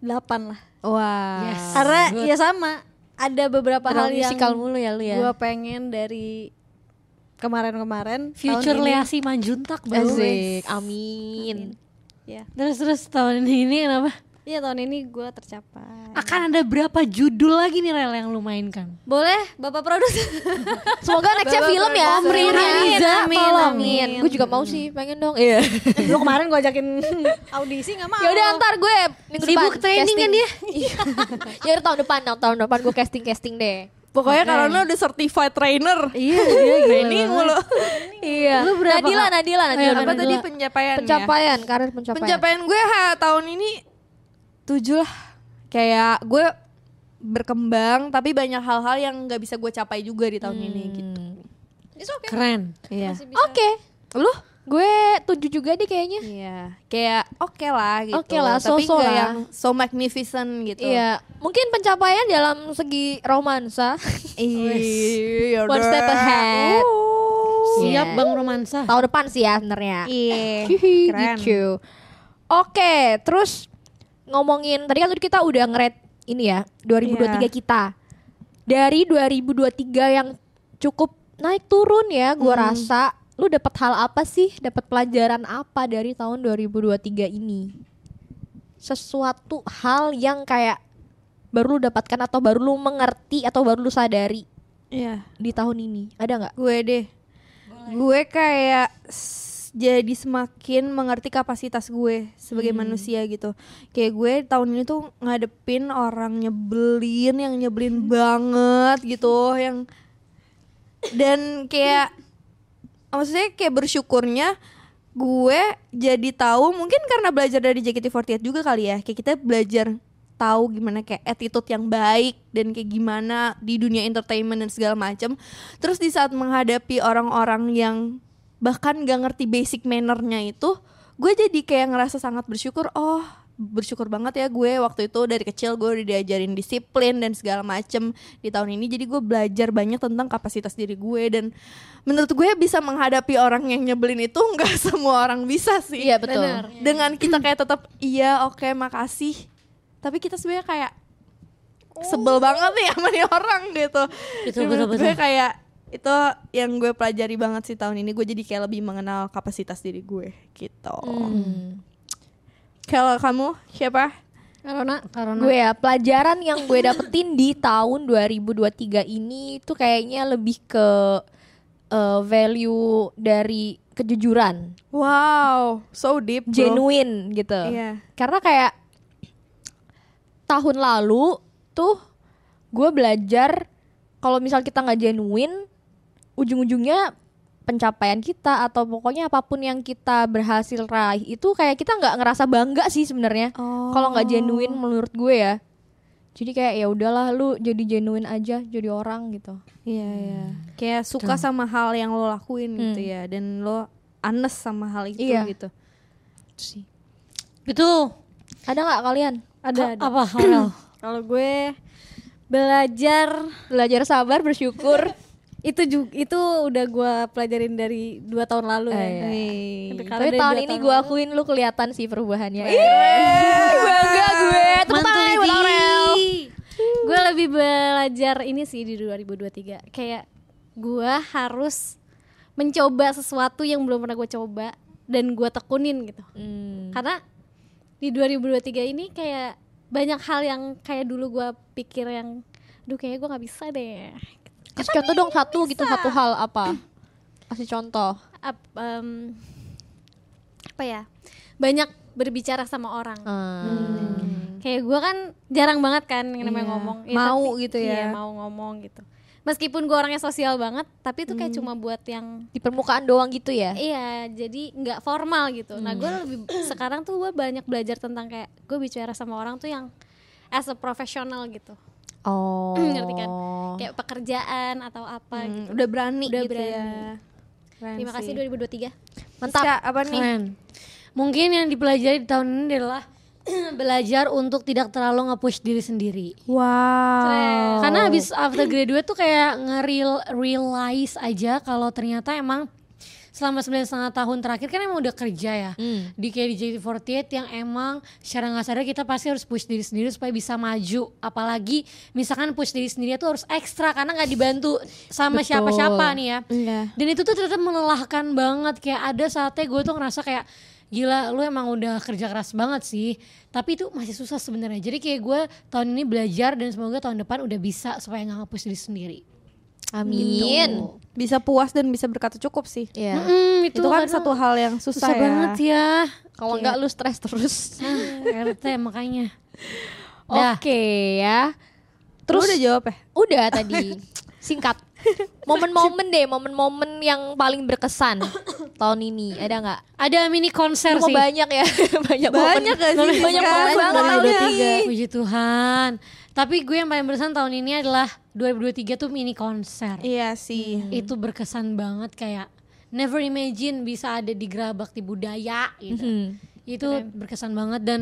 Speaker 4: 8 lah.
Speaker 2: wah
Speaker 3: Yes.
Speaker 4: Karena
Speaker 3: Good.
Speaker 4: ya sama ada beberapa
Speaker 1: Padahal
Speaker 4: hal yang
Speaker 1: musikal mulu ya lu ya.
Speaker 4: gue pengen dari kemarin-kemarin
Speaker 3: Future
Speaker 4: tahun ini.
Speaker 3: Leasi Manjuntak bro.
Speaker 1: Asik, amin.
Speaker 4: Ya.
Speaker 3: Terus terus tahun ini kenapa?
Speaker 4: Iya tahun ini gue tercapai.
Speaker 3: Akan ada berapa judul lagi nih Rel yang lu mainkan?
Speaker 4: Boleh bapak produser.
Speaker 1: Semoga nextnya film ya.
Speaker 3: Omri
Speaker 1: Amin,
Speaker 3: Riza,
Speaker 1: amin,
Speaker 3: tolong.
Speaker 1: Amin. Gue juga mau sih, pengen dong. Iya.
Speaker 4: Lu kemarin gue ajakin [LAUGHS] audisi nggak mau.
Speaker 1: Ya udah ntar gue minggu
Speaker 3: Sibuk
Speaker 1: depan
Speaker 3: training kan dia?
Speaker 1: [LAUGHS] Iya. ya udah tahun depan, tahun, tahun depan gue casting casting deh.
Speaker 2: pokoknya karena udah certified trainer
Speaker 3: Iya, iya
Speaker 2: training mulu
Speaker 1: Iya.
Speaker 3: Lu berapa,
Speaker 1: Nadila,
Speaker 3: Kak?
Speaker 1: Nadila, Iya, Nadila.
Speaker 3: Ayo,
Speaker 2: apa
Speaker 3: Apa
Speaker 2: tadi
Speaker 3: dulu?
Speaker 2: pencapaian ya?
Speaker 1: Pencapaian, karir pencapaian.
Speaker 2: pencapaian gue ha, tahun ini tujuh lah kayak gue berkembang tapi banyak hal-hal yang nggak bisa gue capai juga di tahun ini
Speaker 1: Hmm.
Speaker 2: gitu
Speaker 3: Keren.
Speaker 2: iya
Speaker 1: Oke. Lu? Gue tujuh juga deh kayaknya.
Speaker 2: iya kayak oke lah gitu
Speaker 1: Oke lah,
Speaker 2: tapi
Speaker 1: so-so
Speaker 2: nggak
Speaker 1: lah.
Speaker 2: yang so magnificent gitu
Speaker 1: Iya, mungkin pencapaian dalam segi [LAUGHS] romansa.
Speaker 2: iya
Speaker 1: One step ahead.
Speaker 3: Siap
Speaker 1: Yeah.
Speaker 3: Bang Romansa.
Speaker 1: Tahun depan sih ya sebenarnya.
Speaker 2: iya keren
Speaker 1: Gitu. Oke, terus ngomongin tadi kan kita udah ngeret ini ya 2023
Speaker 2: Iya.
Speaker 1: kita. Dari 2023 yang cukup naik turun ya, gua rasa lu dapat hal apa sih? Dapat pelajaran apa dari tahun 2023 ini? Sesuatu hal yang kayak baru lu dapatkan atau baru lu mengerti atau baru lu sadari
Speaker 2: iya
Speaker 1: di tahun ini. Ada nggak?
Speaker 2: gue deh gue kayak s- jadi semakin mengerti kapasitas gue sebagai manusia gitu kayak gue tahun ini tuh ngadepin orang nyebelin yang nyebelin banget gitu yang dan kayak Ah, maksudnya kayak bersyukurnya gue jadi tahu mungkin karena belajar dari JKT48 juga kali ya kayak kita belajar tahu gimana kayak attitude yang baik dan kayak gimana di dunia entertainment dan segala macam terus di saat menghadapi orang-orang yang bahkan gak ngerti basic mannernya itu gue jadi kayak ngerasa sangat bersyukur oh bersyukur banget ya gue waktu itu dari kecil gue udah diajarin disiplin dan segala macem di tahun ini jadi gue belajar banyak tentang kapasitas diri gue dan menurut gue bisa menghadapi orang yang nyebelin itu [LAUGHS] nggak semua orang bisa sih
Speaker 1: Iya, betul.
Speaker 2: Benar. dengan kita kayak tetap iya oke makasih tapi kita sebenarnya kayak sebel banget nih sama nih orang gitu
Speaker 3: Itu
Speaker 2: Jadi menurut
Speaker 3: betul-betul.
Speaker 2: gue kayak itu yang gue pelajari banget sih tahun ini gue jadi kayak lebih mengenal kapasitas diri gue gitu kalau kamu siapa
Speaker 3: Karena karena
Speaker 1: Gue ya pelajaran yang gue dapetin di tahun 2023 ini tuh kayaknya lebih ke eh, value dari kejujuran,
Speaker 2: wow so deep bro.
Speaker 1: genuine gitu.
Speaker 2: Iya.
Speaker 1: Karena kayak tahun lalu tuh gue belajar kalau misal kita nggak genuine, ujung-ujungnya pencapaian kita atau pokoknya apapun yang kita berhasil raih itu kayak kita nggak ngerasa bangga sih sebenarnya
Speaker 2: Oh.
Speaker 1: kalau nggak genuine menurut gue ya jadi kayak ya udahlah lu jadi genuine aja jadi orang gitu
Speaker 2: Iya iya. Kayak suka sama hal yang lo lakuin gitu ya dan lo anes sama hal itu
Speaker 1: Iya.
Speaker 2: gitu.
Speaker 1: Itu sih
Speaker 3: betul.
Speaker 1: ada nggak kalian
Speaker 4: Ada, ada.
Speaker 3: Apa Aurel?
Speaker 4: Kalau gue belajar
Speaker 1: belajar sabar bersyukur
Speaker 4: itu juga itu udah gua pelajarin dari dua tahun lalu ya.
Speaker 3: iya.
Speaker 4: [LAUGHS] Tapi kalau
Speaker 1: Oh, Tapi
Speaker 4: dari
Speaker 1: tahun
Speaker 4: dua
Speaker 1: ini
Speaker 4: tahun
Speaker 1: gue
Speaker 4: lalu-
Speaker 1: akuin lu kelihatan sih perubahannya. Ih, bangga gue. Tepuk tangan buat Aurel.
Speaker 4: Gue lebih belajar ini sih di 2023. Kayak gue harus mencoba sesuatu yang belum pernah gue coba dan gue tekunin gitu.
Speaker 1: Hmm.
Speaker 4: Karena di 2023 ini kayak banyak hal yang kayak dulu gue pikir yang duh kayaknya gue nggak bisa deh.
Speaker 1: Kasih contoh dong satu gitu satu hal apa? Kasih contoh.
Speaker 4: Ap- em, apa ya? Banyak berbicara sama orang.
Speaker 2: Hmm.
Speaker 1: Hmm.
Speaker 4: kayak gue kan jarang banget kan yang namanya
Speaker 2: Iya.
Speaker 4: ngomong
Speaker 2: Mau gitu ya.
Speaker 4: iya, mau ngomong gitu meskipun gue orangnya sosial banget tapi itu
Speaker 2: Hmm.
Speaker 4: kayak cuma buat yang
Speaker 1: Di permukaan doang gitu ya.
Speaker 4: iya jadi nggak formal gitu nah
Speaker 2: Hmm.
Speaker 4: gue lebih sekarang tuh gue banyak belajar tentang kayak gue bicara sama orang tuh yang as a profesional gitu
Speaker 1: Oh.
Speaker 4: ngerti kan kayak pekerjaan atau apa
Speaker 2: Hmm,
Speaker 4: gitu
Speaker 2: udah berani
Speaker 4: Udah
Speaker 2: gitu
Speaker 4: berani.
Speaker 2: ya.
Speaker 4: terima kasih 2023
Speaker 1: Mantap.
Speaker 2: Siska, apa nih?
Speaker 3: Keren. Mungkin yang dipelajari di tahun ini adalah [CLEARS THROAT] belajar untuk tidak terlalu nge-push diri sendiri.
Speaker 2: Wow.
Speaker 3: Karena habis after graduate tuh kayak nge-real realize aja kalau ternyata emang selama sembilan setengah tahun terakhir kan emang udah kerja ya di kayak di JT48 yang emang secara nggak sadar kita pasti harus push diri sendiri supaya bisa maju apalagi misalkan push diri sendiri tuh harus ekstra karena nggak dibantu sama
Speaker 1: Betul.
Speaker 3: siapa-siapa nih ya
Speaker 2: Iya.
Speaker 3: dan itu tuh ternyata melelahkan banget kayak ada saatnya gue tuh ngerasa kayak gila lu emang udah kerja keras banget sih tapi itu masih susah sebenarnya jadi kayak gue tahun ini belajar dan semoga tahun depan udah bisa supaya nggak ngapus diri sendiri
Speaker 1: Amin.
Speaker 2: Gitu. Bisa puas dan bisa berkata cukup sih.
Speaker 1: Iya.
Speaker 3: Mm,
Speaker 2: Itu, kan
Speaker 3: karena
Speaker 2: satu hal yang
Speaker 3: susah
Speaker 2: susah, ya.
Speaker 3: banget ya
Speaker 1: Kalau enggak lu stres terus.
Speaker 3: Ah, RT makanya Dah.
Speaker 1: Oke ya.
Speaker 2: Terus udah jawab ya?
Speaker 1: Udah tadi. Singkat. Momen-momen deh, momen-momen yang paling berkesan tahun ini. Ada nggak?
Speaker 3: ada mini konser
Speaker 1: Lu mau
Speaker 3: sih kan
Speaker 1: banyak ya, [LAUGHS] banyak momen.
Speaker 2: Banyak gak sih,
Speaker 1: Banyak
Speaker 2: Siska?
Speaker 1: momen banget
Speaker 2: Dari
Speaker 1: tahun
Speaker 2: udah
Speaker 1: ini.
Speaker 2: tiga.
Speaker 3: puji Tuhan tapi gue yang paling berkesan tahun ini adalah 2023 tuh mini konser
Speaker 2: Iya sih.
Speaker 3: itu berkesan banget kayak never imagine bisa ada di Gerabakti Budaya gitu.
Speaker 1: Hmm.
Speaker 3: Itu berkesan banget dan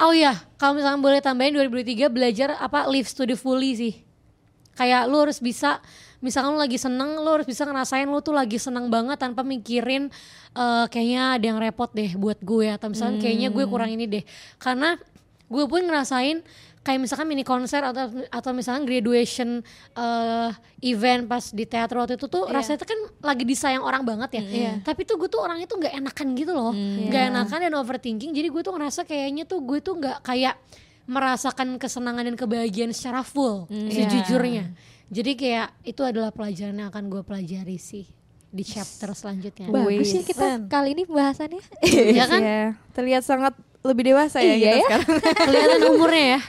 Speaker 3: oh ya, kalau misalnya boleh tambahin 2023 belajar apa lives to the fully sih. Kayak lu harus bisa misalkan lu lagi seneng lu harus bisa ngerasain lu tuh lagi seneng banget tanpa mikirin eh, kayaknya ada yang repot deh buat gue atau misalkan kayaknya gue kurang ini deh. Karena gue pun ngerasain kayak misalkan mini konser atau atau misalkan graduation eh, event pas di teater waktu itu tuh rasanya tuh kan lagi disayang orang banget ya tapi tuh gue tuh orangnya tuh nggak enakan gitu loh nggak enakan dan overthinking jadi gue tuh ngerasa kayaknya tuh gue tuh nggak kayak merasakan kesenangan dan kebahagiaan secara full sejujurnya jadi kayak itu adalah pelajaran yang akan gue pelajari sih di chapter selanjutnya
Speaker 1: Bagus sih kita kali ini pembahasannya.
Speaker 3: ya kan
Speaker 2: Iya. Terlihat sangat lebih dewasa
Speaker 1: Iya
Speaker 2: ya kita
Speaker 1: ya.
Speaker 2: sekarang.
Speaker 1: [LAUGHS]
Speaker 3: kelihatan umurnya ya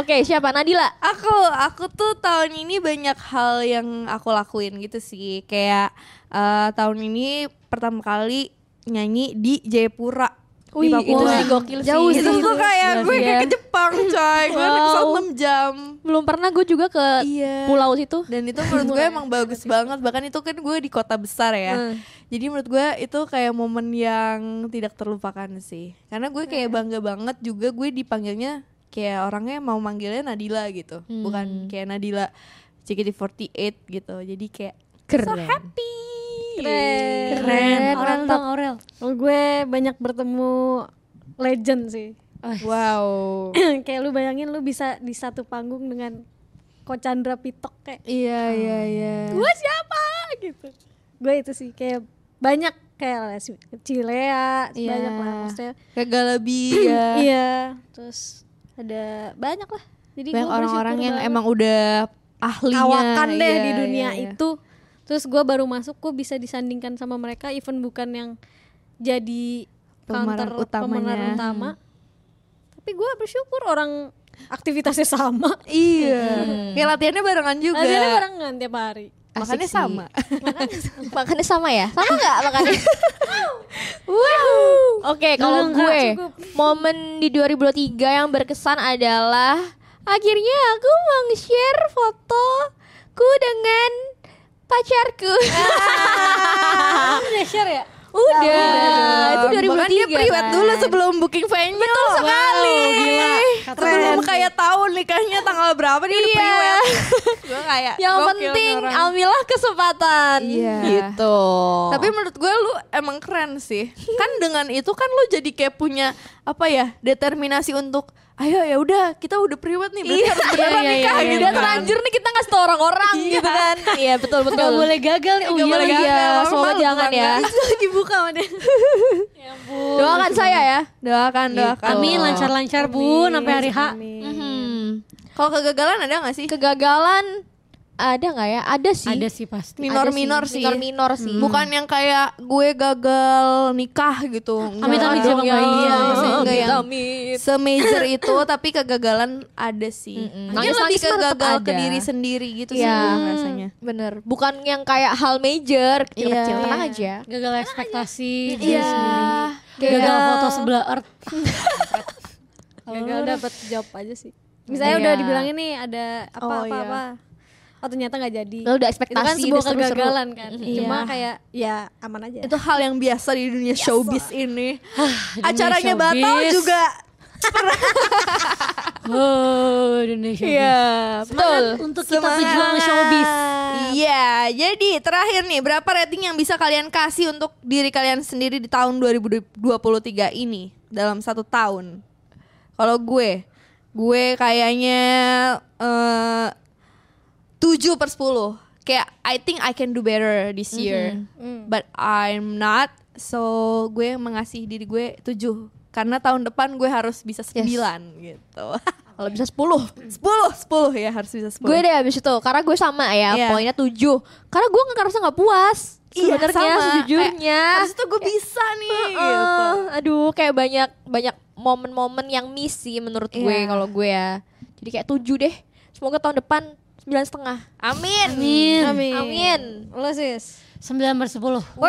Speaker 1: Oke, siapa Nadila?
Speaker 2: Aku, aku tuh tahun ini banyak hal yang aku lakuin gitu sih. Kayak eh, tahun ini pertama kali nyanyi di Jayapura. di Papua.
Speaker 1: itu sih gokil sih.
Speaker 2: Jauh itu tuh kayak gue
Speaker 1: Iya.
Speaker 2: kayak ke Jepang coy gue naik pesawat
Speaker 1: Wow. Eh,
Speaker 2: 6 jam
Speaker 1: Belum pernah gue juga ke
Speaker 2: Iya.
Speaker 1: pulau situ.
Speaker 2: dan itu menurut
Speaker 4: Iya.
Speaker 2: gue emang bagus banget bahkan itu kan gue di kota besar ya
Speaker 4: Hmm.
Speaker 2: jadi menurut gue itu kayak momen yang tidak terlupakan sih karena gue
Speaker 4: Hmm.
Speaker 2: kayak bangga banget juga gue dipanggilnya kayak orangnya mau manggilnya Nadila gitu bukan
Speaker 4: Hmm.
Speaker 2: kayak Nadila JKT48 gitu jadi kayak so
Speaker 3: keren
Speaker 2: happy
Speaker 4: Keren.
Speaker 3: Aurel dong Aurel
Speaker 4: Oh, gue banyak bertemu legend sih [CLEARS THROAT]
Speaker 2: wow
Speaker 4: kayak lu bayangin lu bisa di satu panggung dengan Ko Chandra Pitok kayak
Speaker 2: iya iya iya
Speaker 4: gue siapa gitu gue itu sih kayak banyak kayak Les
Speaker 2: Iya.
Speaker 4: Cilea banyak lah maksudnya
Speaker 2: kayak Galabi ya
Speaker 4: iya terus ada banyak lah jadi
Speaker 2: banyak
Speaker 4: gua bersyukur
Speaker 2: orang-orang yang
Speaker 4: banget.
Speaker 2: emang udah ahlinya
Speaker 4: kawakan deh
Speaker 2: Iya,
Speaker 4: di dunia
Speaker 2: iya, iya.
Speaker 4: itu terus gue baru masuk gue bisa disandingkan sama mereka even bukan yang jadi
Speaker 2: Pemeran
Speaker 4: counter
Speaker 2: utamanya. Hmm.
Speaker 4: pemeran utama tapi gue bersyukur orang aktivitasnya
Speaker 2: [LAUGHS]
Speaker 4: sama
Speaker 2: Iya. Kayak latihannya barengan Iya juga.
Speaker 4: Latihannya barengan kan tiap hari
Speaker 2: Makannya
Speaker 1: Asik sih.
Speaker 2: sama.
Speaker 1: Makannya sama ya? Sama nggak makannya? [LAUGHS] Oke, kalau
Speaker 3: Enggak,
Speaker 1: gue
Speaker 4: cukup.
Speaker 1: momen di 2023 yang berkesan adalah akhirnya aku meng-share fotoku dengan pacarku. [LAUGHS]
Speaker 4: udah share ya
Speaker 1: Udah, [LAUGHS] itu tuh 2003
Speaker 2: Iya. Bahkan dia priwet
Speaker 1: kan?
Speaker 2: dulu sebelum booking venue. Betul sekali.
Speaker 3: gila. Kata
Speaker 2: Sebelum kayak tahu nikahnya tanggal berapa dia udah
Speaker 1: Iya.
Speaker 2: priwet. Gue kayak
Speaker 1: Yang
Speaker 2: gokil nih
Speaker 1: penting
Speaker 2: orang.
Speaker 1: ambillah kesempatan.
Speaker 2: Iya.
Speaker 1: Gitu.
Speaker 2: Tapi menurut gue lu emang keren sih. Kan dengan itu kan lu jadi kayak punya apa ya determinasi untuk ayo ya udah kita udah priwet nih berarti harus beneran
Speaker 3: iya,
Speaker 2: nikah
Speaker 3: iya,
Speaker 2: gitu
Speaker 1: udah
Speaker 3: iya.
Speaker 2: kan.
Speaker 1: terlanjur nih kita ngasih tau orang-orang gitu kan. Iya betul betul.
Speaker 3: Gak boleh gagal nih. Oh
Speaker 2: Gak
Speaker 3: iya
Speaker 2: boleh
Speaker 3: lagi.
Speaker 2: gagal.
Speaker 1: Iya,
Speaker 2: orang
Speaker 1: semoga
Speaker 2: malu
Speaker 1: jangan ya.
Speaker 2: bangga.
Speaker 4: dibuka sama
Speaker 2: ya.
Speaker 1: [LAUGHS]
Speaker 4: dia.
Speaker 1: Doakan saya ya. Iya.
Speaker 2: Doakan doakan.
Speaker 3: Amin lancar-lancar bu sampai hari H.
Speaker 2: Kalau kegagalan ada gak sih?
Speaker 1: Mhm. Kegagalan ada nggak ya? Ada sih.
Speaker 3: Ada sih
Speaker 1: Ada
Speaker 3: pasti.
Speaker 2: Minor-minor sih. Hmm.
Speaker 1: Minor-minor sih. Hmm.
Speaker 2: Bukan yang kayak gue gagal nikah gitu. Enggak
Speaker 3: Amit-amit
Speaker 2: dong, yang-
Speaker 3: siapa nggak iya.
Speaker 2: Enggak yang
Speaker 1: Amit.
Speaker 2: semajor itu tapi kegagalan ada sih.
Speaker 1: Mm-mm.
Speaker 2: Mungkin lebih
Speaker 1: Nangis-nangis mah tetap
Speaker 2: kegagal ke
Speaker 1: ada.
Speaker 2: diri sendiri gitu
Speaker 1: Iya.
Speaker 2: sih gue rasanya.
Speaker 1: Bener. Bukan yang kayak hal major kecil-kecil.
Speaker 2: Iya.
Speaker 1: Tenang aja.
Speaker 3: Gagal ekspektasi.
Speaker 2: Iya.
Speaker 3: Gagal, gagal foto sebelah earth.
Speaker 2: Oh.
Speaker 4: Gagal Ya dapet job aja sih. Misalnya
Speaker 1: Iya.
Speaker 4: udah dibilangin nih ada apa
Speaker 2: Oh,
Speaker 4: apa
Speaker 2: iya.
Speaker 4: apa. Oh ternyata nggak jadi.
Speaker 1: Lalu udah ekspektasi
Speaker 4: itu kan sebuah
Speaker 1: udah seru-seru.
Speaker 4: kegagalan kan.
Speaker 2: Mm-mm.
Speaker 4: Cuma
Speaker 2: Iya.
Speaker 4: kayak ya aman aja.
Speaker 2: Itu hal yang biasa di dunia showbiz ini.
Speaker 3: dunia
Speaker 2: Acaranya
Speaker 3: showbiz.
Speaker 2: batal juga.
Speaker 3: Oh, Indonesia.
Speaker 1: Iya, betul.
Speaker 3: Semangat untuk kita pejuang
Speaker 2: Semangat.
Speaker 3: showbiz.
Speaker 2: Iya, jadi terakhir nih berapa rating yang bisa kalian kasih untuk diri kalian sendiri di tahun 2023 ini dalam satu tahun? Kalau gue, gue kayaknya eh 7 per 10. Kayak I think I can do better this year. But I'm not. So gue mengasih diri gue 7 karena tahun depan gue harus bisa 9 gitu. [LAUGHS]
Speaker 1: Kalau bisa 10.
Speaker 2: 10, 10 ya harus bisa 10.
Speaker 1: Gue deh abis itu, karena gue sama ya,
Speaker 2: Iya.
Speaker 1: poinnya 7 Karena gue nggak ngerasa nggak puas sebenarnya
Speaker 2: sama.
Speaker 1: sejujurnya.
Speaker 2: Kayak, harus itu gue bisa nih gitu.
Speaker 1: Heeh. Aduh, kayak banyak banyak momen-momen yang misi menurut gue
Speaker 2: Iya.
Speaker 1: kalau gue ya. Jadi kayak 7 deh. Semoga tahun depan sembilan setengah. Amin.
Speaker 3: Amin.
Speaker 1: Amin.
Speaker 4: Lo sis.
Speaker 3: 9 per 10.
Speaker 1: Wow.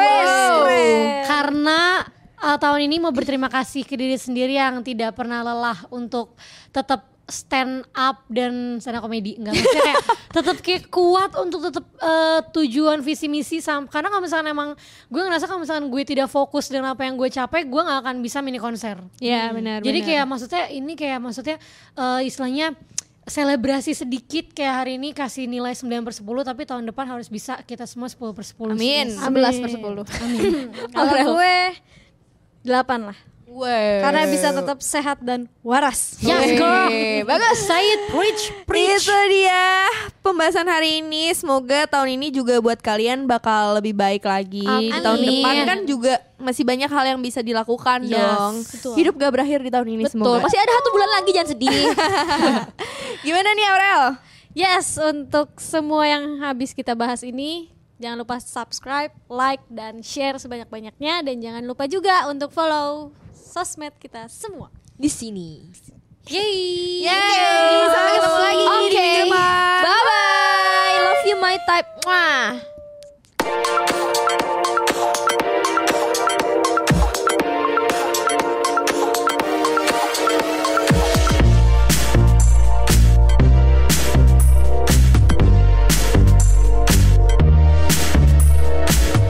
Speaker 3: Karena uh, tahun ini mau berterima kasih ke diri sendiri yang tidak pernah lelah untuk tetap stand up dan stand up komedi enggak maksudnya
Speaker 2: [LAUGHS]
Speaker 3: kayak tetap kayak kuat untuk tetap uh, tujuan visi misi sam karena kalau misalkan emang gue ngerasa kalau misalkan gue tidak fokus dengan apa yang gue capai gue nggak akan bisa mini konser
Speaker 2: Iya benar.
Speaker 3: Jadi kayak maksudnya ini kayak maksudnya eh, istilahnya selebrasi sedikit kayak hari ini kasih nilai 9 per 10 tapi tahun depan harus bisa kita semua 10 per 10
Speaker 2: Amin.
Speaker 1: 11 per 10.
Speaker 4: [LAUGHS] Kalau gue 8 lah.
Speaker 2: Wow.
Speaker 4: Karena bisa tetap sehat dan waras.
Speaker 3: Yes girl
Speaker 2: bagus.
Speaker 3: Say it, preach, preach
Speaker 2: Itu dia pembahasan hari ini. Semoga tahun ini juga buat kalian bakal lebih baik lagi. Di
Speaker 3: Amin.
Speaker 2: Tahun depan kan juga masih banyak hal yang bisa dilakukan
Speaker 3: Yes,
Speaker 2: dong.
Speaker 3: betul.
Speaker 2: Hidup gak berakhir di tahun ini
Speaker 1: Betul.
Speaker 2: semoga.
Speaker 1: Masih ada satu bulan lagi jangan sedih.
Speaker 2: Gimana nih Aurel?
Speaker 4: [LAUGHS] Yes, untuk semua yang habis kita bahas ini, jangan lupa subscribe, like, dan share sebanyak-banyaknya. Dan jangan lupa juga untuk follow sosmed kita semua.
Speaker 1: Di sini.
Speaker 4: Yeay!
Speaker 2: Yeay, sampai ketemu lagi
Speaker 1: Oke.
Speaker 2: di minggu depan.
Speaker 1: Bye bye. Love you my type. Mwah.